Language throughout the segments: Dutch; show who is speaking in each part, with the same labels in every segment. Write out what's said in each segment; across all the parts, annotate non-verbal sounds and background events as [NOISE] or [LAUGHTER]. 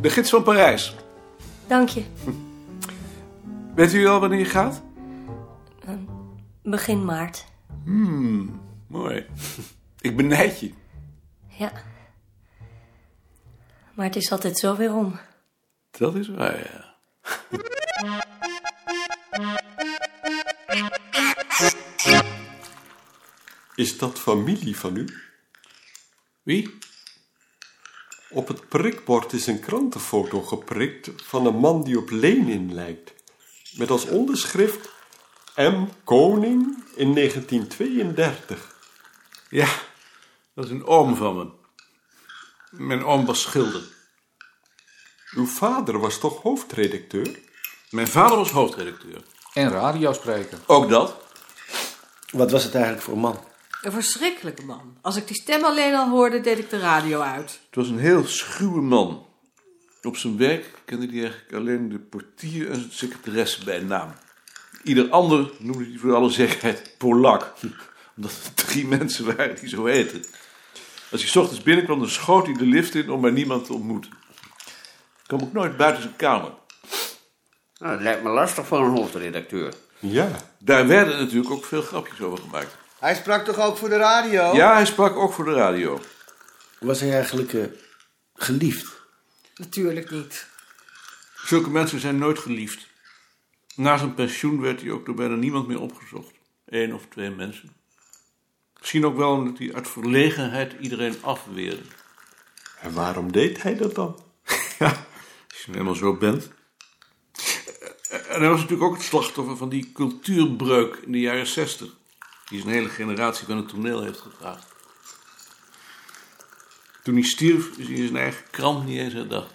Speaker 1: De gids van Parijs.
Speaker 2: Dank je.
Speaker 1: Weet u al wanneer je gaat?
Speaker 2: Begin maart.
Speaker 1: Mooi. [LAUGHS] Ik benijd je.
Speaker 2: Ja. Maar het is altijd zo weer om.
Speaker 1: Dat is waar, ja.
Speaker 3: Is dat familie van u?
Speaker 1: Wie?
Speaker 3: Op het prikbord is een krantenfoto geprikt van een man die op Lenin lijkt. Met als onderschrift M. Koning in 1932.
Speaker 1: Ja, dat is een oom van me. Mijn oom was schilder.
Speaker 3: Uw vader was toch hoofdredacteur?
Speaker 1: Mijn vader was hoofdredacteur.
Speaker 4: En radiospreker.
Speaker 1: Ook dat?
Speaker 5: Wat was het eigenlijk voor een man?
Speaker 6: Een verschrikkelijke man. Als ik die stem alleen al hoorde, deed ik de radio uit.
Speaker 1: Het was een heel schuwe man. Op zijn werk kende hij eigenlijk alleen de portier en zijn secretaresse bij naam. Ieder ander noemde hij voor alle zekerheid Polak. [LAUGHS] Omdat het drie mensen waren die zo heten. Als hij 's ochtends binnenkwam, dan schoot hij de lift in om maar niemand te ontmoeten. Ik kwam ook nooit buiten zijn kamer.
Speaker 7: Nou, dat lijkt me lastig voor een hoofdredacteur.
Speaker 3: Ja.
Speaker 1: Daar werden natuurlijk ook veel grapjes over gemaakt.
Speaker 8: Hij sprak toch ook voor de radio?
Speaker 9: Oh.
Speaker 1: Ja, hij sprak ook voor de radio.
Speaker 5: Was hij eigenlijk eh, geliefd?
Speaker 6: Natuurlijk niet.
Speaker 1: Zulke mensen zijn nooit geliefd. Na zijn pensioen werd hij ook door bijna niemand meer opgezocht. Eén of twee mensen. Misschien ook wel omdat hij uit verlegenheid iedereen afweerde.
Speaker 3: En waarom deed hij dat dan?
Speaker 1: [LAUGHS] Ja, als je nou eenmaal zo bent. En hij was natuurlijk ook het slachtoffer van die cultuurbreuk in de jaren zestig. Die zijn hele generatie van het toneel heeft gevraagd. Toen hij stierf, is hij in zijn eigen krant niet eens herdacht.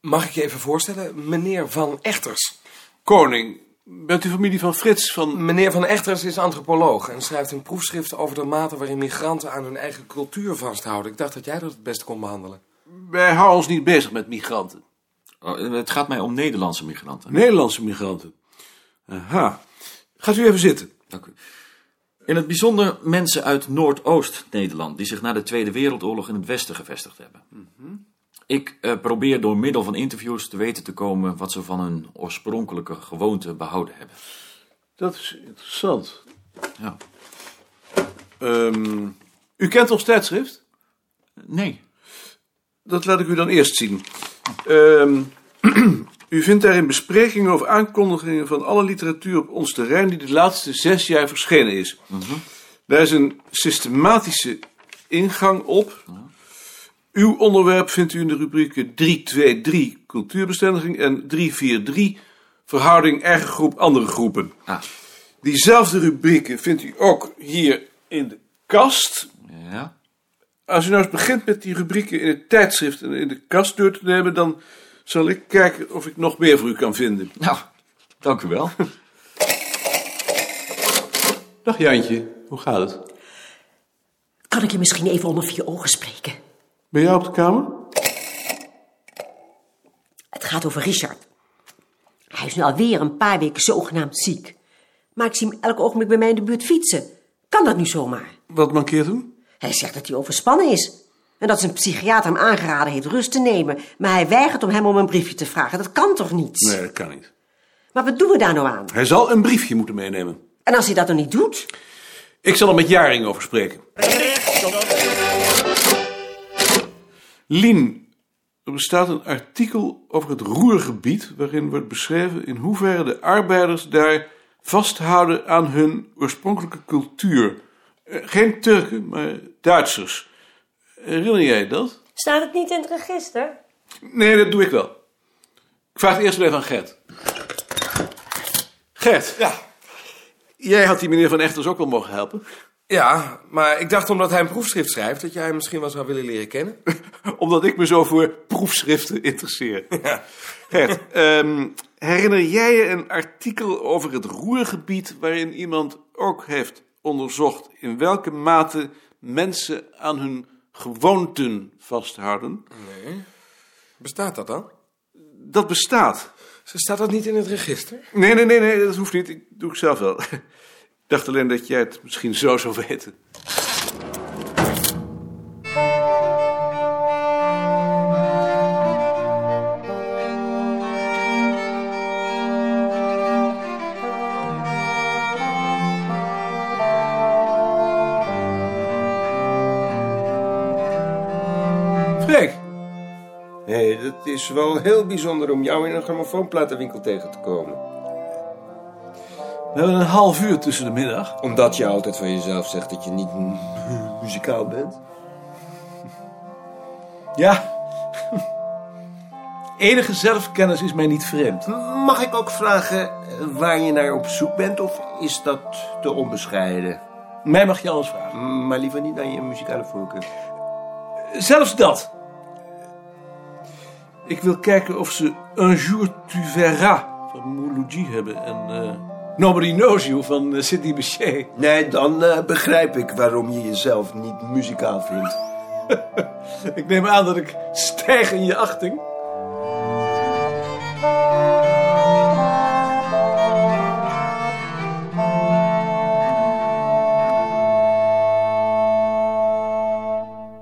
Speaker 9: Mag ik je even voorstellen? Meneer Van Echters.
Speaker 1: Koning, bent u familie van Frits van...
Speaker 9: Meneer Van Echters is antropoloog en schrijft een proefschrift over de mate waarin migranten aan hun eigen cultuur vasthouden. Ik dacht dat jij dat het beste kon behandelen.
Speaker 1: Wij houden ons niet bezig met migranten.
Speaker 10: Oh, het gaat mij om Nederlandse migranten.
Speaker 1: Nederlandse migranten. Aha. Gaat u even zitten.
Speaker 10: Dank u. In het bijzonder mensen uit Noordoost-Nederland, die zich na de Tweede Wereldoorlog in het Westen gevestigd hebben. Ik eh, probeer door middel van interviews te weten te komen wat ze van hun oorspronkelijke gewoonten behouden hebben.
Speaker 1: Dat is interessant.
Speaker 10: Ja.
Speaker 1: Ehm, u kent ons tijdschrift?
Speaker 10: Nee.
Speaker 1: Dat laat ik u dan eerst zien. Ehm, [CLEARS THROAT] u vindt daarin besprekingen of aankondigingen van alle literatuur op ons terrein die de laatste zes jaar verschenen is. Daar is een systematische ingang op. Uw onderwerp vindt u in de rubrieken 323 cultuurbestendiging en 343 verhouding eigen groep andere groepen.
Speaker 10: Ah,
Speaker 1: Diezelfde rubrieken vindt u ook hier in de kast.
Speaker 10: ja.
Speaker 1: Als u nou eens begint met die rubrieken in het tijdschrift en in de kast door te nemen, dan zal ik kijken of ik nog meer voor u kan vinden.
Speaker 10: Nou, dank u wel.
Speaker 1: Dag Jantje, hoe gaat het?
Speaker 2: Kan ik je misschien even onder vier ogen spreken?
Speaker 1: Ben jij op de kamer?
Speaker 2: Het gaat over Richard. Hij is nu alweer een paar weken zogenaamd ziek. Maar ik zie hem elk ogenblik bij mij in de buurt fietsen. Kan dat nu zomaar?
Speaker 1: Wat mankeert hem?
Speaker 2: Hij zegt dat hij overspannen is. En dat zijn psychiater hem aangeraden heeft rust te nemen. Maar hij weigert om hem om een briefje te vragen. Dat kan toch niet?
Speaker 1: Nee, dat kan niet.
Speaker 2: Maar wat doen we daar nou aan?
Speaker 1: Hij zal een briefje moeten meenemen.
Speaker 2: En als hij dat dan niet doet?
Speaker 1: Ik zal er met Jaring over spreken. Lien, er bestaat een artikel over het roergebied waarin wordt beschreven in hoeverre de arbeiders daar vasthouden aan hun oorspronkelijke cultuur. Eh, Geen Turken, maar Duitsers. Herinner jij dat?
Speaker 2: Staat het niet in het register?
Speaker 1: Nee, dat doe ik wel. Ik vraag het eerst wel even aan Gert. Gert. Ja. Jij had die meneer Van Echters ook wel mogen helpen.
Speaker 9: Ja, maar ik dacht omdat hij een proefschrift schrijft dat jij hem misschien wel zou willen leren kennen.
Speaker 1: Omdat ik me zo voor proefschriften [LAUGHS] interesseer. Gert, ehm, herinner jij je een artikel over het roergebied waarin iemand ook heeft onderzocht in welke mate mensen aan hun gewoonten vasthouden?
Speaker 9: [LAUGHS] Bestaat dat dan?
Speaker 1: Dat bestaat.
Speaker 11: Staat dat niet in het register?
Speaker 1: Nee, nee, nee, nee, dat hoeft niet. Ik doe ik zelf wel. [LAUGHS] Ik dacht alleen dat jij het misschien zo zou weten. Freek,
Speaker 4: Nee, dat is wel heel bijzonder om jou in een grammofoonplatenwinkel tegen te komen.
Speaker 1: we hebben een half uur tussen de middag.
Speaker 4: Omdat je altijd van jezelf zegt dat je niet mu- muzikaal bent.
Speaker 1: Ja. Enige zelfkennis is mij niet vreemd.
Speaker 4: Mag ik ook vragen eh, waar je naar op zoek bent of is dat te onbescheiden?
Speaker 1: Mij mag je alles vragen.
Speaker 4: Mm, Maar liever niet naar je muzikale voorkeur.
Speaker 1: Zelfs dat. Ik wil kijken of ze Un jour tu verras van Mouloudji hebben en eh, Nobody Knows You van eh, Sidney Bechet.
Speaker 4: Nee, dan eh, begrijp ik waarom je jezelf niet muzikaal vindt.
Speaker 1: [LAUGHS] Ik neem aan dat ik stijg in je achting.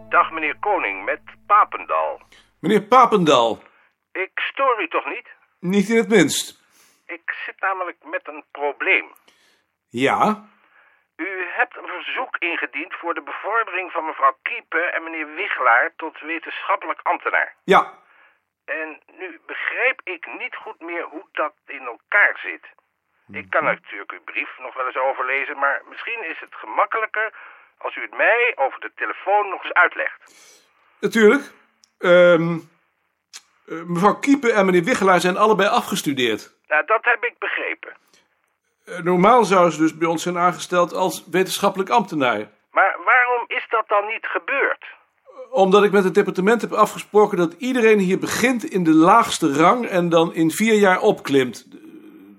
Speaker 9: Dag meneer Koning, met Papendal.
Speaker 1: Meneer Papendal,
Speaker 9: Ik stoor u toch niet?
Speaker 1: niet in het minst.
Speaker 9: Ik zit namelijk met een probleem.
Speaker 1: Ja,
Speaker 9: U hebt een verzoek ingediend voor de bevordering van mevrouw Kiepen en meneer Wichelaar tot wetenschappelijk ambtenaar.
Speaker 1: ja.
Speaker 9: En nu begrijp ik niet goed meer hoe dat in elkaar zit. Ik kan natuurlijk uw brief nog wel eens overlezen, maar misschien is het gemakkelijker als u het mij over de telefoon nog eens uitlegt.
Speaker 1: Natuurlijk. Ehm, eh, mevrouw Kiepen en meneer Wichelaar zijn allebei afgestudeerd.
Speaker 9: Nou, dat heb ik begrepen.
Speaker 1: Eh, normaal zouden ze dus bij ons zijn aangesteld als wetenschappelijk ambtenaar.
Speaker 9: Maar waarom is dat dan niet gebeurd?
Speaker 1: Omdat ik met het departement heb afgesproken dat iedereen hier begint in de laagste rang en dan in vier jaar opklimt.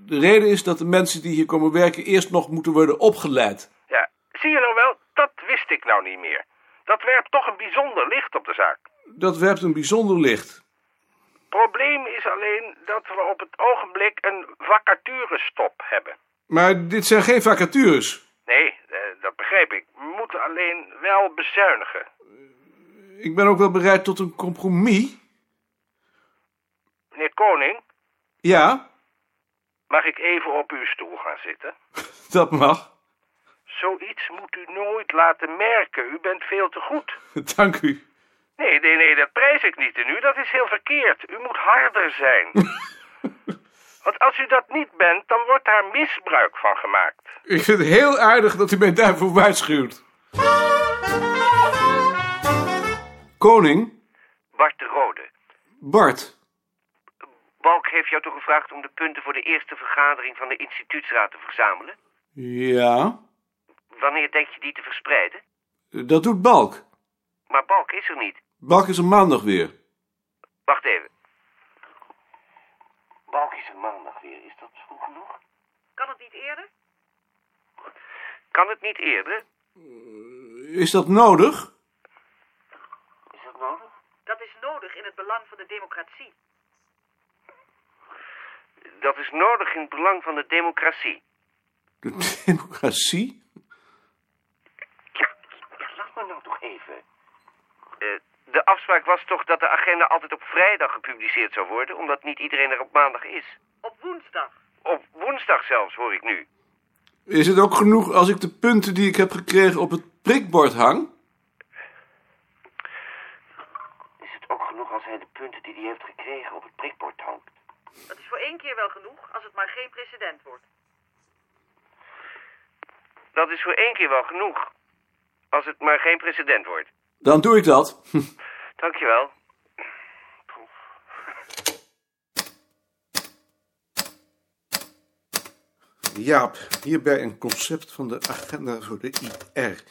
Speaker 1: De reden is dat de mensen die hier komen werken eerst nog moeten worden opgeleid.
Speaker 9: Ja, zie je nou wel, dat wist ik nou niet meer. Dat werpt toch een bijzonder licht op de zaak.
Speaker 1: Dat werpt een bijzonder licht.
Speaker 9: Probleem is alleen dat we op het ogenblik een vacaturestop hebben.
Speaker 1: Maar dit zijn geen vacatures.
Speaker 9: Nee, eh, dat begrijp ik. We moeten alleen wel bezuinigen.
Speaker 1: Ik ben ook wel bereid tot een compromis.
Speaker 9: Meneer Koning,
Speaker 1: Ja,
Speaker 9: mag ik even op uw stoel gaan zitten?
Speaker 1: dat mag.
Speaker 9: Zoiets moet u nooit laten merken. U bent veel te goed.
Speaker 1: Dank u.
Speaker 9: Nee, nee, nee, dat prijs ik niet in u. Dat is heel verkeerd. U moet harder zijn. Want als u dat niet bent, dan wordt daar misbruik van gemaakt.
Speaker 1: Ik vind het heel aardig dat u mij daarvoor waarschuwt. Koning,
Speaker 9: Bart de Rode,
Speaker 1: Bart.
Speaker 9: Balk heeft jou toch gevraagd om de punten voor de eerste vergadering van de instituutsraad te verzamelen?
Speaker 1: Ja,
Speaker 9: Wanneer denk je die te verspreiden?
Speaker 1: dat doet Balk.
Speaker 9: Maar Balk is er niet.
Speaker 1: Balk is er maandag weer.
Speaker 9: Wacht even. Balk is er maandag weer. Is dat vroeg genoeg?
Speaker 12: Kan het niet eerder?
Speaker 9: Kan het niet eerder?
Speaker 1: Is dat nodig?
Speaker 9: Is dat nodig?
Speaker 12: Dat is nodig in het belang van de democratie.
Speaker 9: Dat is nodig in het belang van de democratie.
Speaker 1: De [LAUGHS] democratie?
Speaker 9: Laat me nou toch even. Eh, de afspraak was toch dat de agenda altijd op vrijdag gepubliceerd zou worden, omdat niet iedereen er op maandag is.
Speaker 12: Op woensdag.
Speaker 9: Op woensdag zelfs, hoor ik nu.
Speaker 1: Is het ook genoeg als ik de punten die ik heb gekregen op het prikbord hang?
Speaker 9: Is het ook genoeg als hij de punten die hij heeft gekregen op het prikbord hangt?
Speaker 12: Dat is voor één keer wel genoeg, als het maar geen precedent wordt.
Speaker 9: Dat is voor één keer wel genoeg. Als het maar geen precedent wordt.
Speaker 1: Dan doe ik dat.
Speaker 9: Dankjewel.
Speaker 1: Jaap, hierbij een concept van de agenda voor de IR.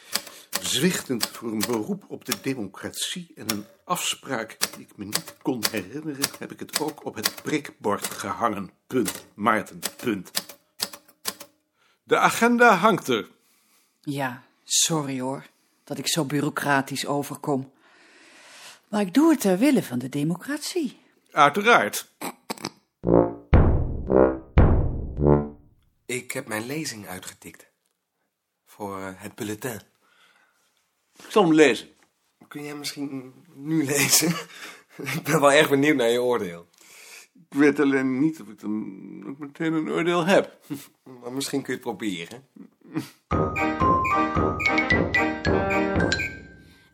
Speaker 1: Zwichtend voor een beroep op de democratie en een afspraak die ik me niet kon herinneren, heb ik het ook op het prikbord gehangen. Punt. Maarten, punt. De agenda hangt er.
Speaker 13: Ja, sorry hoor, dat ik zo bureaucratisch overkom. Maar ik doe het ter wille van de democratie.
Speaker 1: Uiteraard.
Speaker 11: Ik heb mijn lezing uitgetikt. Voor eh, het bulletin.
Speaker 1: Ik zal hem lezen.
Speaker 11: Kun jij misschien nu lezen? [LAUGHS] ik ben wel erg benieuwd naar je oordeel.
Speaker 1: Ik weet alleen niet of ik dan ook meteen een oordeel heb.
Speaker 11: Maar misschien kun je het proberen.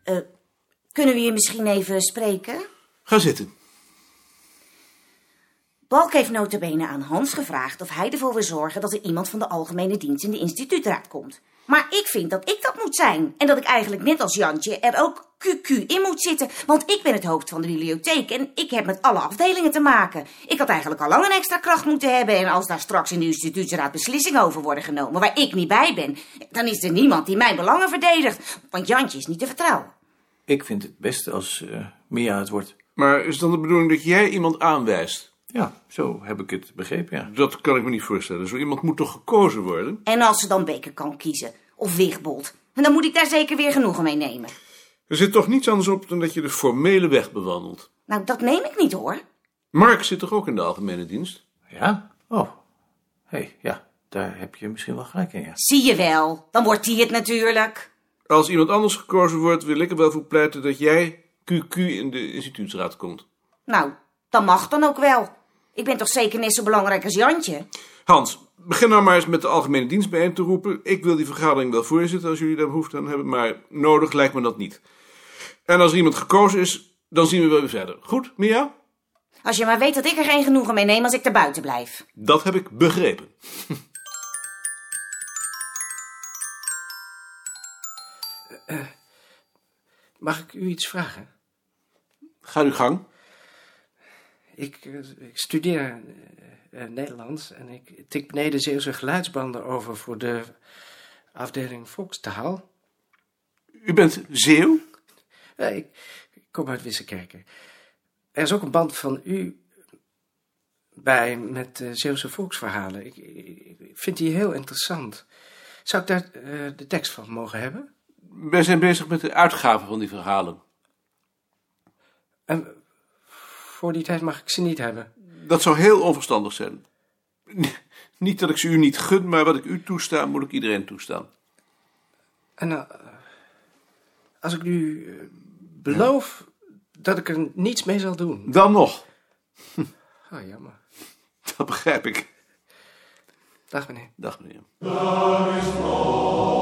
Speaker 2: Eh, kunnen we je misschien even spreken?
Speaker 1: Ga zitten.
Speaker 2: Balk heeft notabene aan Hans gevraagd of hij ervoor wil zorgen dat er iemand van de algemene dienst in de instituutraad komt. Maar ik vind dat ik dat moet zijn. En dat ik eigenlijk net als Jantje er ook QQ in moet zitten. Want ik ben het hoofd van de bibliotheek en ik heb met alle afdelingen te maken. Ik had eigenlijk al lang een extra kracht moeten hebben. En als daar straks in de instituutraad beslissingen over worden genomen waar ik niet bij ben, dan is er niemand die mijn belangen verdedigt. Want Jantje is niet te vertrouwen.
Speaker 1: Ik vind het beste als
Speaker 10: eh,
Speaker 1: Mia het wordt. Maar is dan de bedoeling dat jij iemand aanwijst? Ja, zo heb ik het begrepen, ja. Dat kan ik me niet voorstellen. Zo iemand moet toch gekozen worden?
Speaker 2: En als ze dan Beker kan kiezen, of Wigbold, en dan moet ik daar zeker weer genoegen mee nemen.
Speaker 1: Er zit toch niets anders op dan dat je de formele weg bewandelt.
Speaker 2: Nou, dat neem ik niet hoor.
Speaker 1: Mark zit toch ook in de algemene dienst?
Speaker 14: Ja? Oh. Hé, hey, ja. Daar heb je misschien wel gelijk in, ja.
Speaker 2: Zie je wel, dan wordt hij het natuurlijk.
Speaker 1: Als iemand anders gekozen wordt, wil ik er wel voor pleiten dat jij QQ in de instituutsraad komt.
Speaker 2: Nou, dat mag dan ook wel. Ik ben toch zeker net zo belangrijk als Jantje?
Speaker 1: Hans, begin nou maar eens met de algemene dienst bijeen te roepen. Ik wil die vergadering wel voorzitten als jullie daar behoefte aan hebben, maar nodig lijkt me dat niet. En als er iemand gekozen is, dan zien we wel weer verder. Goed, Mia?
Speaker 2: Als je maar weet dat ik er geen genoegen mee neem als ik er buiten blijf.
Speaker 1: Dat heb ik begrepen.
Speaker 10: Mag ik u iets vragen?
Speaker 1: Ga uw gang.
Speaker 10: Ik, eh, ik studeer eh, eh, Nederlands en ik tik beneden Zeeuwse geluidsbanden over voor de afdeling volkstaal.
Speaker 1: U bent Zeeuw?
Speaker 10: ik, ik kom uit Wissekerken. Er is ook een band van u bij met eh, Zeeuwse volksverhalen. Ik, ik- ik vind die heel interessant. Zou ik daar eh, de tekst van mogen hebben?
Speaker 1: Wij zijn bezig met de uitgave van die verhalen.
Speaker 10: En voor die tijd mag ik ze niet hebben.
Speaker 1: Dat zou heel onverstandig zijn. [LAUGHS] Niet dat ik ze u niet gun, maar wat ik u toesta, moet ik iedereen toestaan.
Speaker 10: En eh, als ik nu eh, beloof dat ik er niets mee zal doen.
Speaker 1: Dan nog. [LAUGHS]
Speaker 10: Ah, jammer.
Speaker 1: Dat begrijp ik.
Speaker 10: Dag meneer.
Speaker 1: Dag meneer.
Speaker 15: Daar is God.